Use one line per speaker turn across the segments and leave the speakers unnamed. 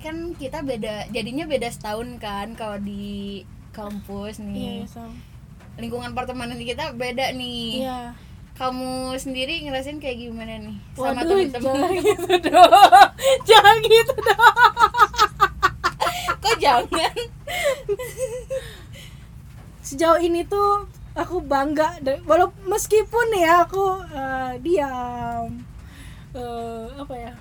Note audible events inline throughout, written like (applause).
kan kita beda jadinya beda setahun kan kalau di kampus
iya
nih
iya sama
lingkungan pertemanan kita beda nih
iya
kamu sendiri ngerasain kayak gimana nih
Waduh,
sama
jangan
temen-temen
gitu dong (laughs) jangan gitu dong
(laughs) kok jangan
sejauh ini tuh aku bangga de- walaupun meskipun ya aku eh, diam eh, apa ya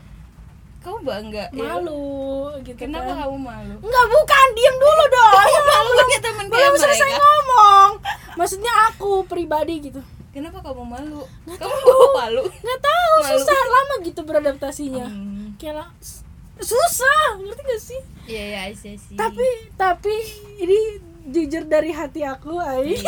kamu bangga ya?
Iya. malu gitu
kenapa
kan.
kamu
(laughs)
malu
Enggak bukan, diam dulu dong.
malu punya temen kayak
(laughs) Belum selesai
mereka
ngomong. Maksudnya aku pribadi gitu.
kenapa kamu malu kamu bawa (laughs) malu
Nggak tahu,
Malu.
susah lama gitu beradaptasinya.
Hmm,
Kayak la- s- susah, ngerti gak sih?
iya iya iya sih
Tapi tapi ini jujur dari hati aku, Ai.
Ih,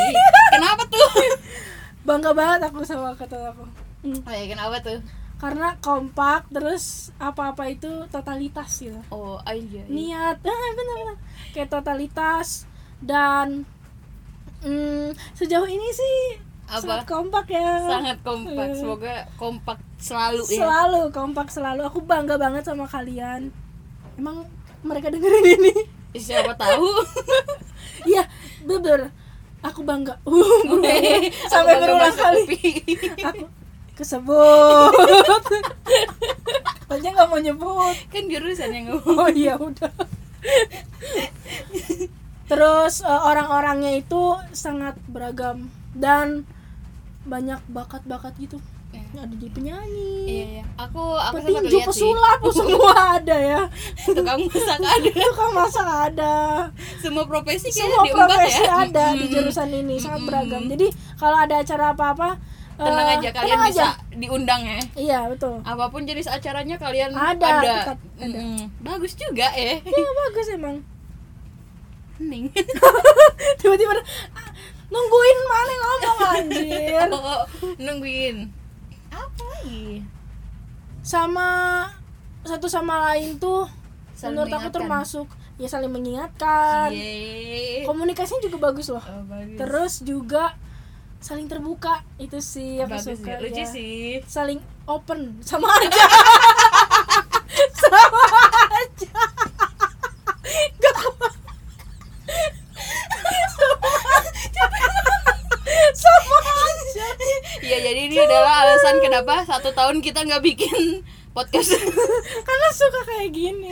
kenapa tuh
(laughs)
(laughs)
Bangga banget aku sama kata aku. Hmm.
oh ya kenapa tuh
Karena kompak terus apa-apa itu totalitas gitu.
oh aja
niat (laughs) ah, benar benar kayak totalitas dan mm, sejauh ini sih
Apa?
sangat kompak ya
sangat kompak semoga kompak selalu ya
selalu kompak selalu aku bangga banget sama kalian emang mereka dengerin ini (laughs)
siapa tahu
iya bener aku bangga (laughs) berulang- sampai
Aku
berulang
masuk
kali
kuping.
aku kesebut (laughs) aja nggak mau nyebut
(laughs) kan jurusan yang ngomong
Oh iya udah. Terus eh, orang-orangnya itu sangat beragam dan banyak bakat-bakat gitu. Ada di penyanyi,
iya iya aku aku sempat
petinju,
lihat sih
pesulap, oh, semua ada ya.
(laughs) tukang masak ada
Tukang masak ada.
semua profesi kayaknya
Semua
diembat
profesi
ya
ada di
Mm-mm.
jurusan ini, sangat
Mm-mm.
beragam. Jadi kalau ada acara apa-apa eh,
tenang aja kalian
tenang
bisa
aja.
diundang ya
Iya, betul.
apapun jenis acaranya kalian
Ada,
ada,
tetap ada.
Mm-mm. bagus juga ya
Iya, bagus emang. (laughs)
hening
Tiba-tiba ah, nungguin mana ngomong anjir.
Oh, (laughs) nungguin apa lagi
sama satu sama lain tuh
Saling
menurut aku
mengingatkan.
termasuk ya saling mengingatkan
Yeay.
komunikasinya juga bagus loh
Oh, Iya. bagus.
terus juga saling terbuka itu sih aku
bagus
suka
ya. lucu
ya.
sih
saling open sama aja (laughs) sama aja Gak apa- sama aja
ya jadi ini adalah alasan kenapa satu tahun kita nggak bikin podcast
karena suka kayak gini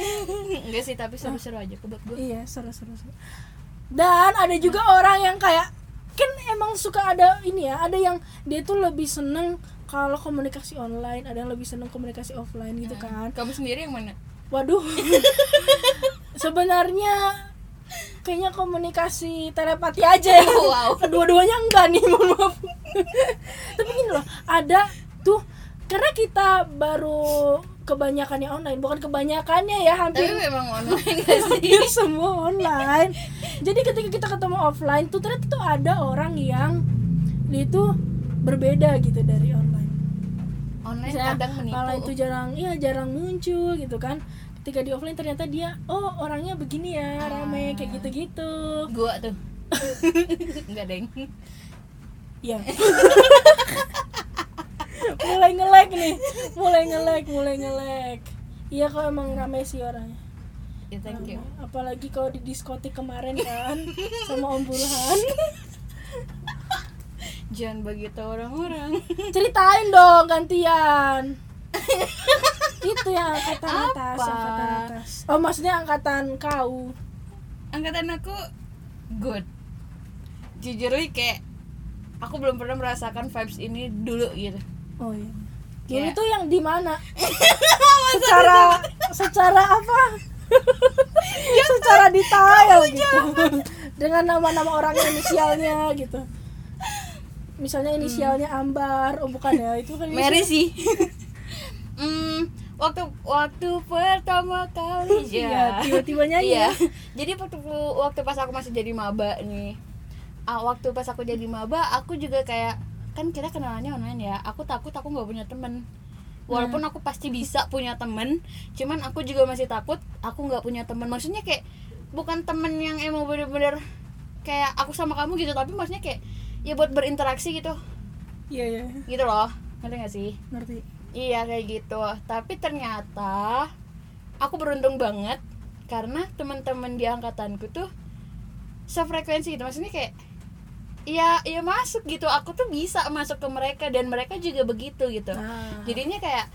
enggak sih tapi seru-seru aja kebak gue
Iya, seru seru seru. Dan ada juga orang yang kayak kan emang suka ada ini ya, ada yang dia tuh lebih seneng kalau komunikasi online, ada yang lebih seneng komunikasi offline gitu kan.
Nah, kamu sendiri yang mana
Waduh. (laughs) Sebenarnya kayaknya komunikasi telepati aja ya.
Oh, Wow.
Dua-duanya enggak nih, mohon
(laughs)
maaf. Tapi gini loh, ada tuh karena kita baru kebanyakannya online, bukan kebanyakannya ya, hampir
tapi (laughs) memang online gak sih
(laughs) hampir semua online jadi ketika kita ketemu offline tuh ternyata tuh ada orang yang dia tuh berbeda gitu dari online
online
Misalnya,
Kan kadang menipu
online tuh jarang iya jarang muncul gitu kan ketika di offline ternyata dia oh orangnya begini ya
Ah.
rame kayak gitu-gitu
gua tuh (laughs) enggak deng
Iya. (laughs) mulai ngelek nih, mulai ngelek, mulai ngelek. Iya kok emang rame sih orangnya.
ya thank you
Apalagi kalau di diskotik kemarin kan sama Om Burhan.
jangan bagi tahu orang-orang
Ceritain dong
(laughs)
gantian. Itu yang angkatan
Apa?
atas, angkatan atas. Oh, maksudnya angkatan kau.
angkatan aku good jujur li kayak aku belum pernah merasakan vibes ini dulu gitu
Oh iya. Dulu
Iya.
tuh yang di
(laughs)
mana? secara secara
(laughs)
apa? secara detail gitu. (laughs) Dengan nama-nama orang inisialnya gitu. Misalnya
Hmm.
inisialnya Ambar, oh bukan ya, itu kan
Mary sih (laughs) Hmm, waktu waktu pertama kali
Iya,
ya
tiba-tiba nyanyi.
Iya. (laughs) Jadi waktu waktu pas aku masih jadi maba nih. Ah, waktu pas aku jadi maba, aku juga kayak kan kita kenalannya online ya. Aku takut aku nggak punya temen. Walaupun aku pasti bisa punya temen, cuman aku juga masih takut aku nggak punya temen. Maksudnya kayak bukan temen yang emang bener-bener kayak aku sama kamu gitu, tapi maksudnya kayak ya buat berinteraksi gitu,
Iya, iya.
gitu loh. Ngerti gak sih?
Ngerti.
Iya kayak gitu. Tapi ternyata aku beruntung banget karena teman-teman di angkatanku tuh sefrekuensi gitu maksudnya kayak ya ya masuk gitu aku tuh bisa masuk ke mereka dan mereka juga begitu gitu
Nah.
jadinya kayak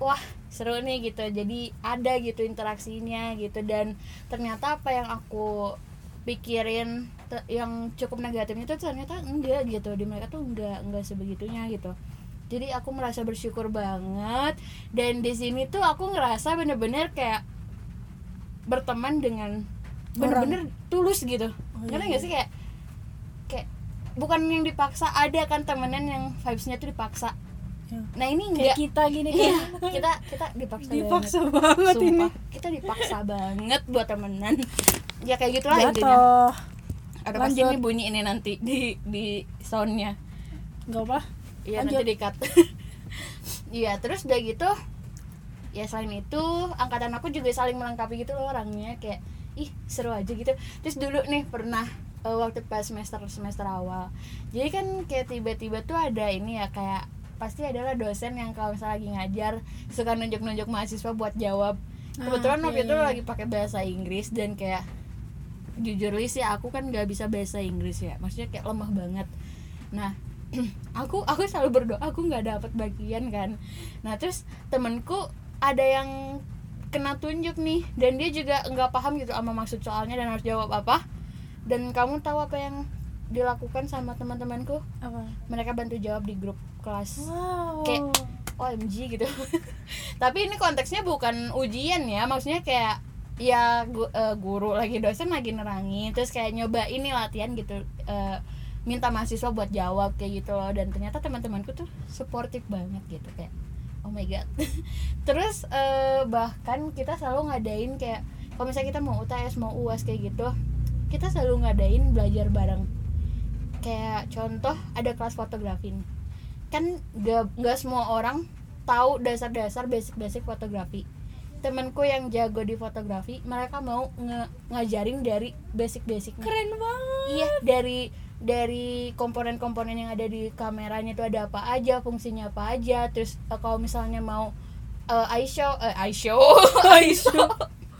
wah seru nih gitu jadi ada gitu interaksinya gitu dan ternyata apa yang aku pikirin te- yang cukup negatifnya itu ternyata enggak gitu di mereka tuh enggak enggak sebegitunya gitu jadi aku merasa bersyukur banget dan di sini tuh aku ngerasa bener-bener kayak berteman dengan bener-bener tulus gitu
Oh,
karena
iya.
nggak sih kayak kayak bukan yang dipaksa ada kan temenan yang vibesnya tuh dipaksa
Ya.
Nah ini
kayak
enggak
kita gini kan.
Iya,
kayak
kita kita dipaksa
dipaksa
banget.
banget ini
Sumpah, kita dipaksa banget buat temenan. Ya kayak gitulah intinya.
jatuh
Ada pasti
Lanjut.
ini bunyi ini nanti di di soundnya.
nggak apa
Iya
Lanjut.
nanti di cut. (laughs) Iya terus udah gitu. Ya selain itu angkatan aku juga saling melengkapi gitu loh orangnya kayak ih seru aja gitu. Terus dulu nih pernah eh, waktu pas semester semester awal. Jadi kan kayak tiba-tiba tuh ada ini ya kayak pasti adalah dosen yang kalau misalnya lagi ngajar suka nunjuk-nunjuk mahasiswa buat jawab. Kebetulan
Ah, iya,
waktu itu
iya.
lagi pakai bahasa Inggris dan kayak jujur li sih aku kan nggak bisa bahasa Inggris ya maksudnya kayak lemah banget nah (clears throat) aku aku selalu berdoa aku nggak dapat bagian kan nah terus temenku ada yang kena tunjuk nih dan dia juga nggak paham gitu sama maksud soalnya dan harus jawab apa dan kamu tahu apa yang dilakukan sama teman-temanku
apa
mereka bantu jawab di grup kelas
wow
Kayak- OMG gitu. (laughs) Tapi ini konteksnya bukan ujian ya, maksudnya kayak ya gu- eh, guru lagi dosen lagi nerangin terus kayak nyoba ini latihan gitu eh, minta mahasiswa buat jawab kayak gitu loh dan ternyata teman-temanku tuh supportive banget gitu kayak oh my god. (laughs) terus eh, bahkan kita selalu ngadain kayak kalau misalnya kita mau UTS mau UAS kayak gitu, kita selalu ngadain belajar bareng. Kayak contoh ada kelas fotografi nih kan gak, gak semua orang tahu dasar-dasar basic-basic fotografi temanku yang jago di fotografi mereka mau nge- ngajarin dari basic-basic
keren banget
iya dari dari komponen-komponen yang ada di kameranya itu ada apa aja fungsinya apa aja terus eh, kalau misalnya mau eh, ISO eh, ISO ISO (laughs)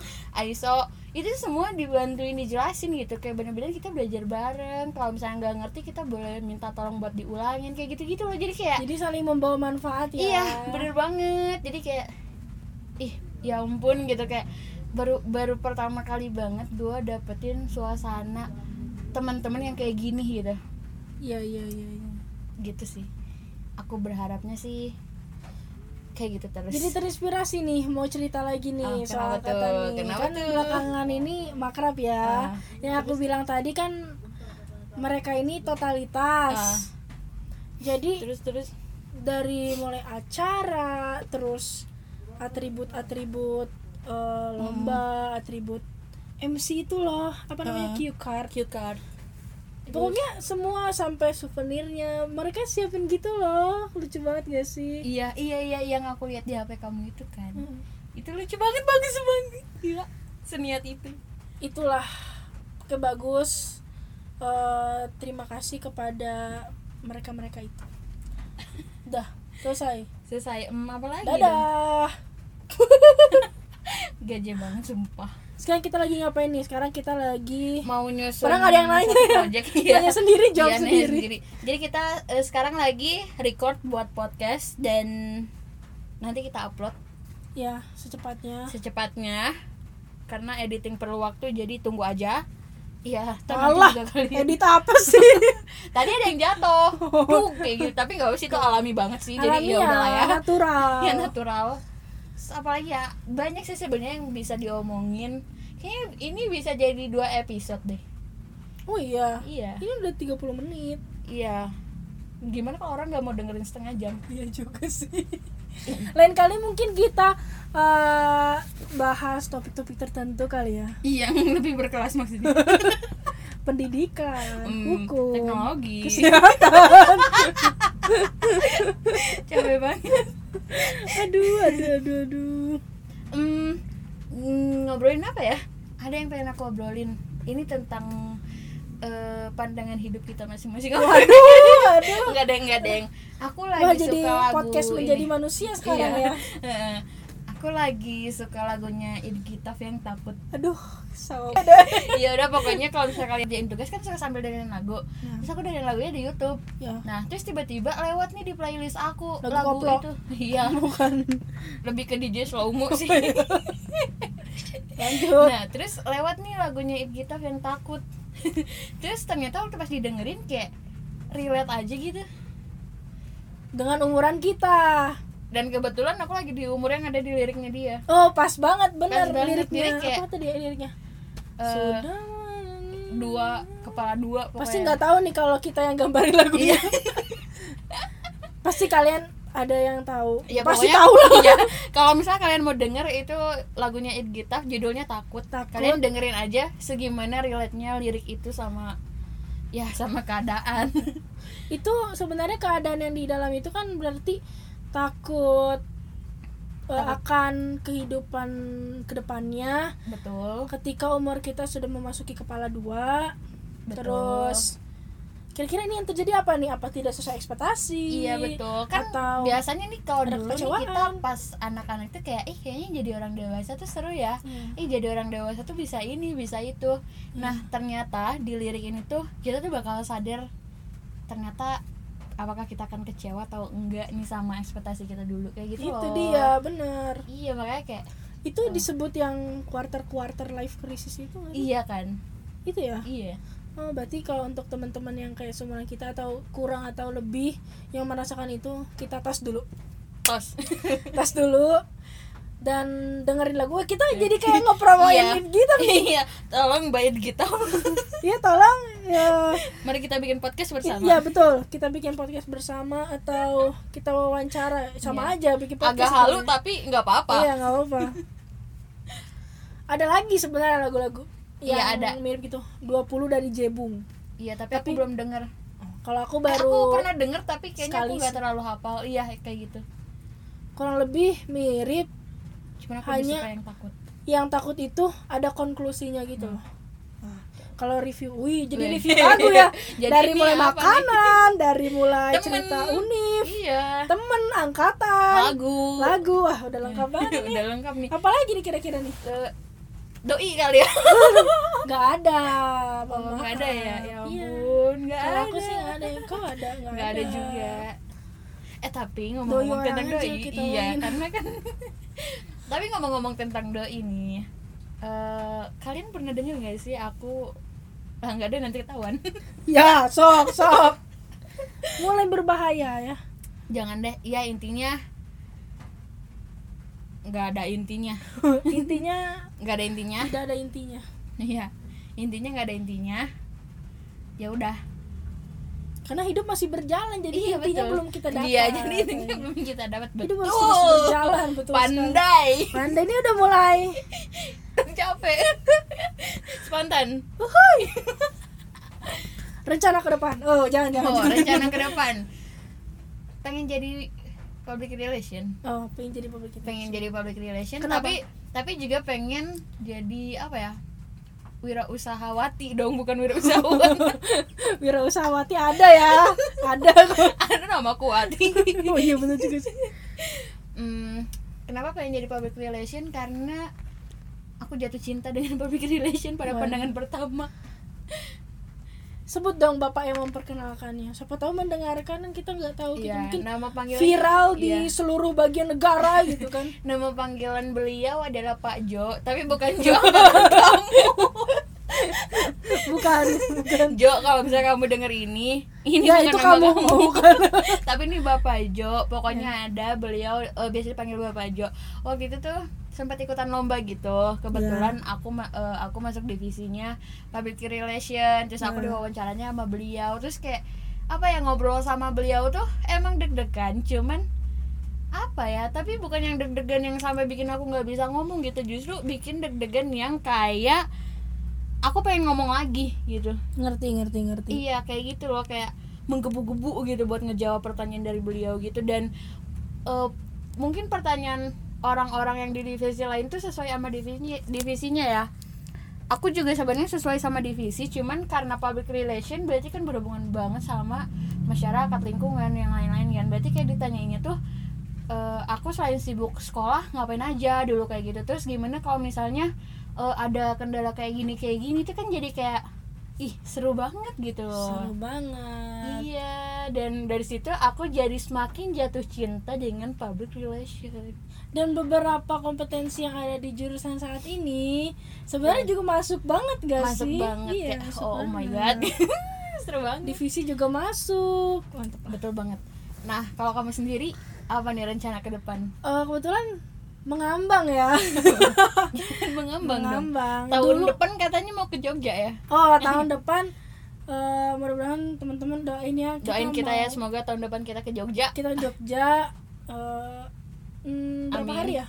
ISO itu semua dibantuin dijelasin gitu kayak bener-bener kita belajar bareng kalau misalnya nggak ngerti kita boleh minta tolong buat diulangin kayak gitu-gitu loh jadi kayak
jadi saling membawa manfaat ya
Iya, bener banget. Jadi kayak ih, ya ampun gitu kayak baru baru pertama kali banget gue dapetin suasana teman-teman yang kayak gini gitu.
iya iya iya iya.
Gitu sih. Aku berharapnya sih kayak gitu terus.
jadi terinspirasi nih mau cerita lagi
Oh,
nih
kenapa
soal angkatan
tuh?
nih
Kenapa
kan
tuh?
belakangan ini makrab
Ah.
ya yang aku bilang tadi kan mereka ini totalitas
Ah.
jadi
terus terus
dari mulai acara terus atribut-atribut eh,
Hmm.
lomba atribut MC itu loh apa namanya
Ah.
cue card
cue card.
pokoknya semua sampai souvenirnya mereka siapin gitu loh lucu banget gak sih
Iya, iya iya yang aku lihat di HP kamu itu kan.
Mm.
Itu lucu banget, bagus banget. Gila, seniat itu.
itulah kebagus eh, terima kasih kepada mereka mereka itu dah selesai
Selesai. Em, apa lagi? Ah, iya dong?
dadah
Gajah banget sumpah.
sekarang kita lagi ngapain nih sekarang kita lagi
mau nyusun
Padahal nggak ada yang nanya.
satu project, iya.
Nanya sendiri, jawab
Iya, nanya
sendiri.
jadi kita eh, sekarang lagi record buat podcast dan nanti kita upload
ya secepatnya
secepatnya karena editing perlu waktu jadi tunggu aja iya ntar nanti
Alah,
juga kali.
edit apa sih?
tadi ada yang
(laughs)
jatuh Duh, kayak gitu tapi nggak apa sih itu alami banget sih (laughs) jadi
Alamiah,
ya udahlah ya
natural.
ya natural Terus apalagi ya banyak sih sebenarnya yang bisa diomongin kayaknya ini bisa jadi dua episode deh
Oh iya.
iya
Ini udah 30 menit.
Iya. Gimana kalau orang nggak mau dengerin setengah jam?
Iya juga sih. (laughs) Lain kali mungkin kita eh, bahas topik-topik tertentu kali ya.
Iya, (laughs) yang lebih berkelas maksudnya.
Pendidikan,
Hmm,
hukum,
teknologi.
kesehatan.
(laughs) Capek banget.
aduh, aduh, aduh, aduh.
Hmm, mm, ngobrolin apa ya? Ada yang pengen aku obrolin. Ini tentang eh, pandangan hidup kita masing-masing. (laughs) Waduh,
Aduh, aduh.
nggak ada nggak ada yang. Aku lagi
Wah,
suka
jadi
lagu
podcast
ini.
menjadi manusia sekarang
Iya.
ya.
(laughs) Heeh. aku aku lagi suka lagunya Idgitaf yang takut (laughs)
aduh so
ya udah pokoknya kalau misalnya kalian jadiin tugas kan suka sambil dengerin lagu
Ya.
terus aku dengerin lagunya di YouTube
ya
nah terus tiba-tiba lewat nih di playlist aku
Lagu
lagu,
koplo.
itu iya
bukan
lebih ke DJ slow mo sih
Oh, iya.
(laughs)
lanjut
nah terus lewat nih lagunya Idgitaf yang takut (laughs) terus ternyata waktu pas didengerin kayak relate aja gitu
dengan umuran kita
dan kebetulan aku lagi di umur yang ada di liriknya dia
oh pas banget bener
Pas banget,
liriknya
lirik kayak-
apa tadi liriknya
Eh,
sudah
dua kepala dua pokoknya. Iya.
pasti nggak tahu nih kalau kita yang gambarin lagunya (laughs) pasti kalian ada yang tahu
Ya,
pasti
pokoknya-
tahu lah
Iya. kalau misalnya kalian mau denger itu lagunya It Gitaf judulnya takut.
Takut.
kalian dengerin aja segimana relate nya lirik itu sama ya sama keadaan (laughs)
itu sebenarnya keadaan yang di dalam itu kan berarti takut eh,
Takut.
akan kehidupan kedepannya
betul
ketika umur kita sudah memasuki kepala dua
Betul.
terus kira-kira ini yang terjadi apa nih apa tidak sesuai ekspektasi
iya betul kan
atau
biasanya nih kalau
ada
dulu nih
kekecewaan.
kita pas anak-anak tuh kayak ih kayaknya jadi orang dewasa tuh seru ya
Hmm.
ih jadi orang dewasa tuh bisa ini bisa itu nah ternyata di lirik ini tuh kita tuh bakal sadar ternyata apakah kita akan kecewa atau enggak nih sama ekspektasi kita dulu kayak gitu
itu
loh.
dia bener
iya makanya kayak
itu disebut yang quarter quarter life crisis itu nggak sih?
iya kan
itu ya
iya
oh berarti kalau untuk teman-teman yang kayak seumuran kita atau kurang atau lebih yang merasakan itu kita tos
(laughs)
dulu
tos
tes dulu dan dengerin lagu kita jadi kayak ngepromoin
Iya.
gitu
(laughs) iya tolong bayar kita
ya tolong ya
mari kita bikin podcast bersama
ya betul kita bikin podcast bersama atau kita wawancara sama aja bikin
Iya. agak
podcast
halu
sebenarnya.
tapi nggak apa-apa
iya nggak apa (laughs) ada lagi sebenarnya lagu-lagu
Iya,
yang
ada.
mirip gitu 20 dari Jebung
iya tapi, aku
Tapi-
belum denger
kalau aku
Eh,
baru
aku pernah denger tapi kayaknya aku
sekali
nggak
sih.
terlalu hafal iya kayak gitu
kurang lebih mirip
cuman aku
Hanya-
lebih suka yang takut
yang takut itu ada konklusinya gitu loh Nah, kalau review, wih jadi
Hmm. Wih.
review lagu ya
(laughs) Jadi
dari
ini
mulai
apa nih?
makanan, dari mulai
Temen.
cerita unik,
iya
temen angkatan,
lagu Iya.
lagu, wah udah
(laughs)
lengkap banget nih.
udah lengkap nih
Apalagi nih kira-kira nih?
Eh, doi kali ya
Gak ada, mohon
oh,
maaf.
(laughs) nggak ada ya ya
Iya.
ampun nggak
Kalau aku
ada
sih gak ada, kau ada nggak
nggak ada juga eh tapi ngomong-ngomong
Doi
tentang
orang aja
doi
kita
iya
omongin.
karena kan (laughs) tapi ngomong-ngomong tentang doi nih eh, kalian pernah dengar nggak sih aku ah, nggak ada nanti ketahuan (laughs)
Ya, sok, sok. (laughs) Mulai berbahaya (laughs) ya.
jangan deh ya intinya nggak ada intinya
Intinya
nggak ada intinya (laughs)
tidak ada intinya.
iya intinya nggak ada intinya ya udah
Karena hidup masih berjalan, jadi intinya belum kita dapat.
iya jadi intinya belum kita dapat
Hidup
betul
harus terus berjalan, betul sekali.
pandai (laughs)
Pandai ini udah mulai.
capek spontan
Uhuy. Rencana ke depan. Oh, jangan jangan.
Oh,
jangan.
rencana ke depan. Pengen jadi public relation.
Oh, pengen jadi public relation.
Pengen jadi public relation
Kenapa?
tapi tapi juga pengen jadi apa ya? Wirausahawati dong, bukan wirausahawan.
(laughs)
(laughs)
Wirausahawati ada (laughs) ya. ada (laughs) kok.
Aduh nama aku Wati.
Oh iya benar juga sih.
Hmm, kenapa pengen jadi public relation? Karena aku jatuh cinta dengan public relation pada
Wah.
pandangan pertama.
Sebut dong bapak yang memperkenalkannya. Siapa tahu mendengarkan kan kita nggak tahu gitu.
Iya,
Mungkin
nama panggilan
viral di
iya.
seluruh bagian negara gitu
(laughs)
kan.
Nama panggilan beliau adalah Pak Jo, tapi bukan
(laughs)
Jo angkatan kamu.
Bukan, bukan.
Jo kalau misalnya kamu denger ini ini
Ya, itu
bukan nama
kamu. (laughs) Bukan.
tapi ini bapak Jo pokoknya ada beliau eh, biasanya dipanggil bapak Jo waktu itu tuh sempat ikutan lomba gitu kebetulan aku ma- eh, aku masuk divisinya public relation terus aku
Ya.
diwawancaranya sama beliau terus kayak apa ya ngobrol sama beliau tuh emang deg-degan cuman apa ya tapi bukan yang deg-degan yang sampai bikin aku nggak bisa ngomong gitu justru bikin deg-degan yang kayak aku pengen ngomong lagi gitu
Ngerti, ngerti, ngerti.
Iya kayak gitu loh kayak menggebu-gebu gitu buat ngejawab pertanyaan dari beliau gitu dan eh, mungkin pertanyaan orang-orang yang di divisi lain tuh sesuai sama divisinya, divisinya ya. Aku juga sebenarnya sesuai sama divisi, cuman karena public relation berarti kan berhubungan banget sama masyarakat, lingkungan yang lain-lain kan. Berarti kayak ditanyainnya tuh eh, aku selain sibuk sekolah ngapain aja dulu kayak gitu terus gimana kalau misalnya eh, ada kendala kayak gini kayak gini tuh kan jadi kayak ih seru banget gitu
seru banget
Iya, dan dari situ aku jadi semakin jatuh cinta dengan public relation.
dan beberapa kompetensi yang ada di jurusan saat ini sebenarnya juga masuk banget gak
Iya. Masuk
sih
banget
Iya,
kayak,
masuk
oh, my god. (laughs)
banget.
Seru banget.
divisi juga masuk mantep
Betul banget. Nah, kalau kamu sendiri apa nih rencana ke depan? (laughs)
Eh, kebetulan mengambang ya
Mengembang dong.
mengambang
Tahun
Dulu-
depan katanya mau ke Jogja ya.
oh tahun depan eh, mudah-mudahan teman-teman doain ya
Doain kita
mau-
ya semoga tahun depan kita ke Jogja.
kita Jogja eh, hmm, berapa
Amin.
hari ya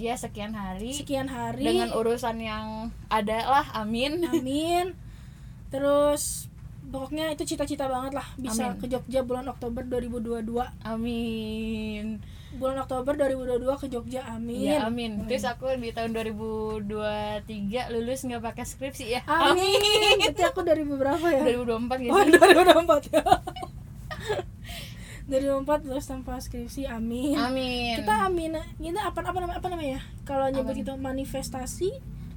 Ya sekian hari
sekian hari
dengan urusan yang ada lah.
(laughs)
Amin.
Amin. Terus pokoknya itu cita-cita banget lah bisa
Amin.
ke Jogja bulan Oktober 2022.
Amin.
Bulan Oktober 2022 ke Jogja. Amin.
Ya amin. Terus aku di tahun 2023 lulus nggak pakai skripsi ya.
Amin. Berarti aku dari beberapa ya?
2024 gitu.
Oh, 2024 ya. (laughs) 2024 terus tanpa skripsi. Amin.
Amin.
Kita amin. Kita apa apa namanya? Apa namanya? ya? Kalau nyebut
Apa?
itu manifestasi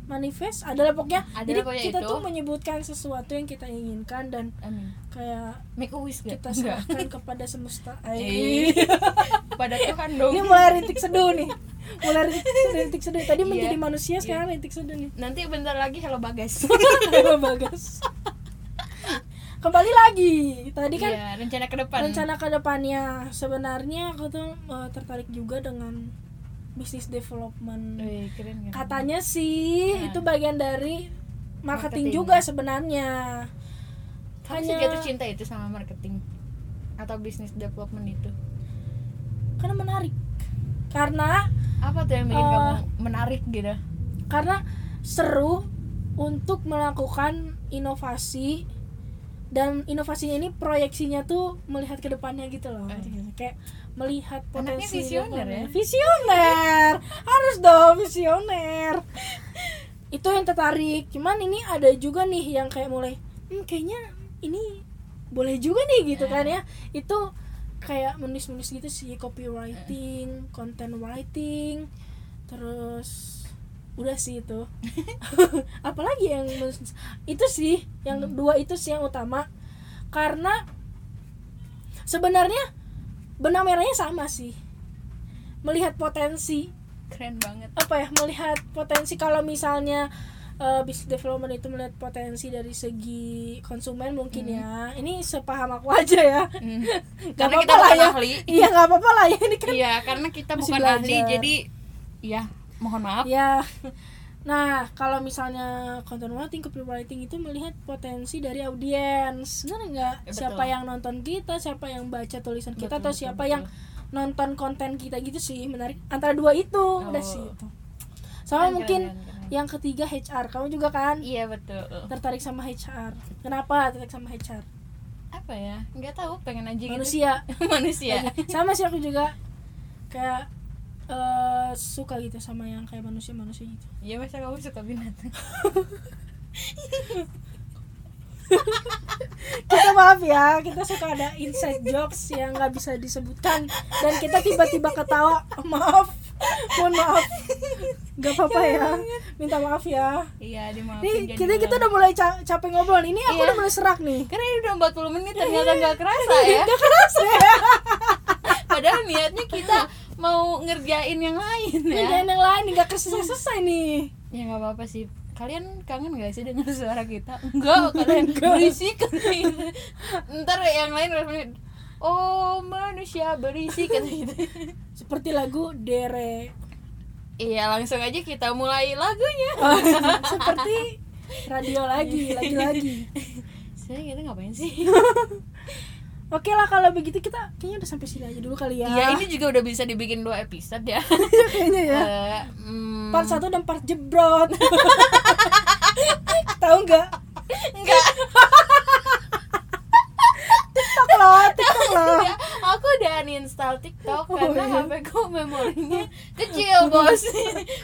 manifest adalah pokoknya
Adalah
jadi
pokoknya
kita
itu.
tuh menyebutkan sesuatu yang kita inginkan dan
Amin.
kayak
Make a wish gak?
kita serahkan kepada
(laughs)
semesta
Eh, Pada Tuhan dong.
Ini mulai rintik seduh nih. Mulai rintik seduh, rintik seduh. Tadi
Iya.
menjadi manusia sekarang rintik seduh nih. (laughs)
Nanti bentar lagi hello bagas.
Halo, Bagas. Kembali lagi. Tadi kan
Iya, rencana ke depan.
rencana ke depannya sebenarnya aku tuh eh, tertarik juga dengan bisnis development.
Wih, keren kan?
Katanya sih
Nah.
itu bagian dari marketing,
Marketing.
juga sebenarnya.
Kamu sih jatuh cinta itu sama marketing atau bisnis development itu.
karena menarik. Karena
Apa tuh yang bikin
Eh,
kamu menarik gitu?
karena seru untuk melakukan inovasi dan inovasinya ini proyeksinya tuh melihat ke depannya gitu loh
Eh.
kayak melihat
Anaknya
potensi
visioner ya? (laughs)
visioner harus dong visioner itu yang tertarik cuman ini ada juga nih yang kayak mulai "Hmm, kayaknya ini boleh juga nih gitu
Eh.
kan ya itu kayak menulis-menulis gitu sih
Eh.
copywriting, content writing, terus udah sih itu. (laughs) Apalagi yang menulis- itu sih yang
Hmm.
dua itu sih yang utama karena sebenarnya benang merahnya sama sih melihat potensi
Keren banget.
apa ya melihat potensi kalau misalnya eh, business development itu melihat potensi dari segi konsumen mungkin ya ini sepaham aku (laughs) aja ya
Hmm.
(laughs) Gak
Karena kita
apa-apa lah
bukan
ya.
ahli.
iya nggak apa-apa lah ya ini kan
Iya, karena kita
Masih
bukan
belajar.
ahli jadi ya mohon maaf.
ya (laughs) nah kalau misalnya content writing copywriting itu melihat potensi dari audiens benar nggak
Ya, betul.
siapa yang nonton kita siapa yang baca tulisan kita atau
Betul, betul,
siapa
betul.
yang nonton konten kita gitu sih menarik antara dua itu udah sih itu sama
Oh. Keren,
mungkin
keren, keren, keren.
yang ketiga HR kamu juga kan
Iya betul.
tertarik sama HR kenapa tertarik sama HR
Apa ya? Nggak tahu, pengen aja gitu.
manusia
(laughs)
Iya.
Manusia.
sama sih aku juga kayak eh, suka gitu sama yang kayak manusia-manusia gitu
Ya masa kamu suka binatang?
kita maaf ya kita suka ada inside jokes yang nggak bisa disebutkan dan kita tiba-tiba ketawa maaf mohon maaf nggak apa-apa ya minta maaf ya
Iya, dimaafin.
ini kita
jadi
kita
ulang.
udah mulai ca- capek ngobrol ini aku
Iya.
udah Iya. mulai serak nih
Karena ini udah 40 menit ternyata nggak kerasa ya.
(laughs) Nggak kerasa ya
Padahal niatnya kita mau ngerjain yang lain ya.
kerjaan yang lain nggak selesai-selesai nih
Ya nggak apa-apa sih. Kalian kangen gak sih dengan suara kita? Enggak, kalian berisik katanya. Ntar yang lain responnya, Oh manusia berisik kata gitu.
seperti lagu Dere
(laughs) Iya langsung aja kita mulai lagunya.
seperti radio lagi
(laughs)
lagi-lagi
Sebenarnya kita ngapain sih?
oke lah kalau begitu kita kayaknya udah sampai sini aja dulu kali ya
Ya
(laughs)
ini juga udah bisa dibikin dua episode ya.
kayaknya ya
Eh, hmm,
part satu dan part jebrot (laughs) tahu nggak
Enggak.
tiktok loh tiktok loh
Ya, (laughs) aku udah uninstall TikTok
Oh,
karena
iya.
HP ku memorinya kecil, (laughs) Bos.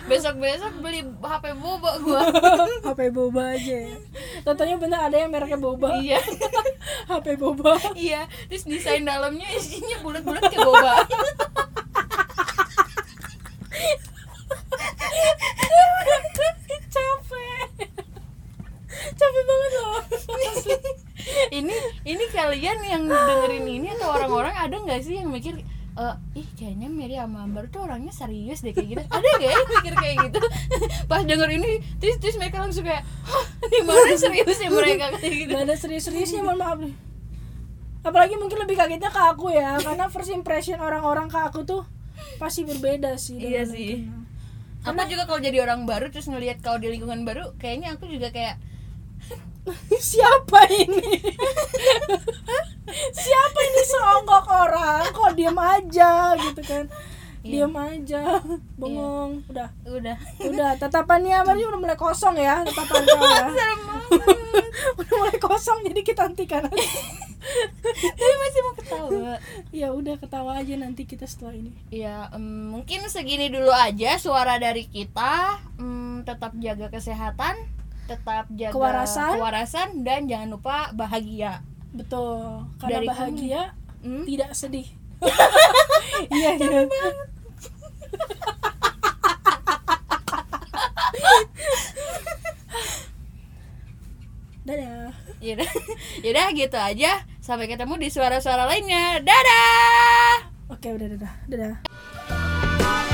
Besok-besok beli HP bobo gua.
hp boba aja ya. tentunya bener ada yang mereknya boba
iya.
hp boba
Iya, terus desain dalamnya isinya bulat-bulat kayak boba.
capek capek banget loh
(laughs) ini ini kalian yang dengerin ini atau orang-orang ada nggak sih yang mikir eh ih kayaknya Mary sama Amber tuh orangnya serius deh kayak gitu ada gak yang mikir kayak gitu (laughs) pas denger ini terus terus mereka langsung kayak "Hah, gimana serius ya mereka kayak gitu
gak ada serius-seriusnya mohon maaf nih apalagi mungkin lebih kagetnya ke aku ya karena first impression orang-orang ke aku tuh pasti berbeda sih dengan
Iya
yang (laughs)
sih.
kenal.
aku juga kalau jadi orang baru terus ngelihat kau di lingkungan baru kayaknya aku juga kayak
siapa ini (laughs) siapa ini seonggok orang kok diem aja gitu kan
Iya.
diem aja bengong udah
udah
udah tatapannya Mari udah mulai kosong ya tatapan kau ya
(laughs) (laughs) serem banget
udah mulai kosong jadi kita hentikan aja.
tapi masih mau ketawa
ya udah ketawa aja nanti kita setelah ini
Ya, em, mungkin segini dulu aja suara dari kita. Em, tetap jaga kesehatan, tetap jaga
Kewarasan.
kewarasan, dan jangan lupa bahagia.
betul karena
Dari kami.
bahagia
Hmm?
tidak sedih iya iya dadah
Yaudah. (laughs) Yaudah, gitu aja. Sampai ketemu di suara-suara lainnya. Dadah.
oke udah dadah dadah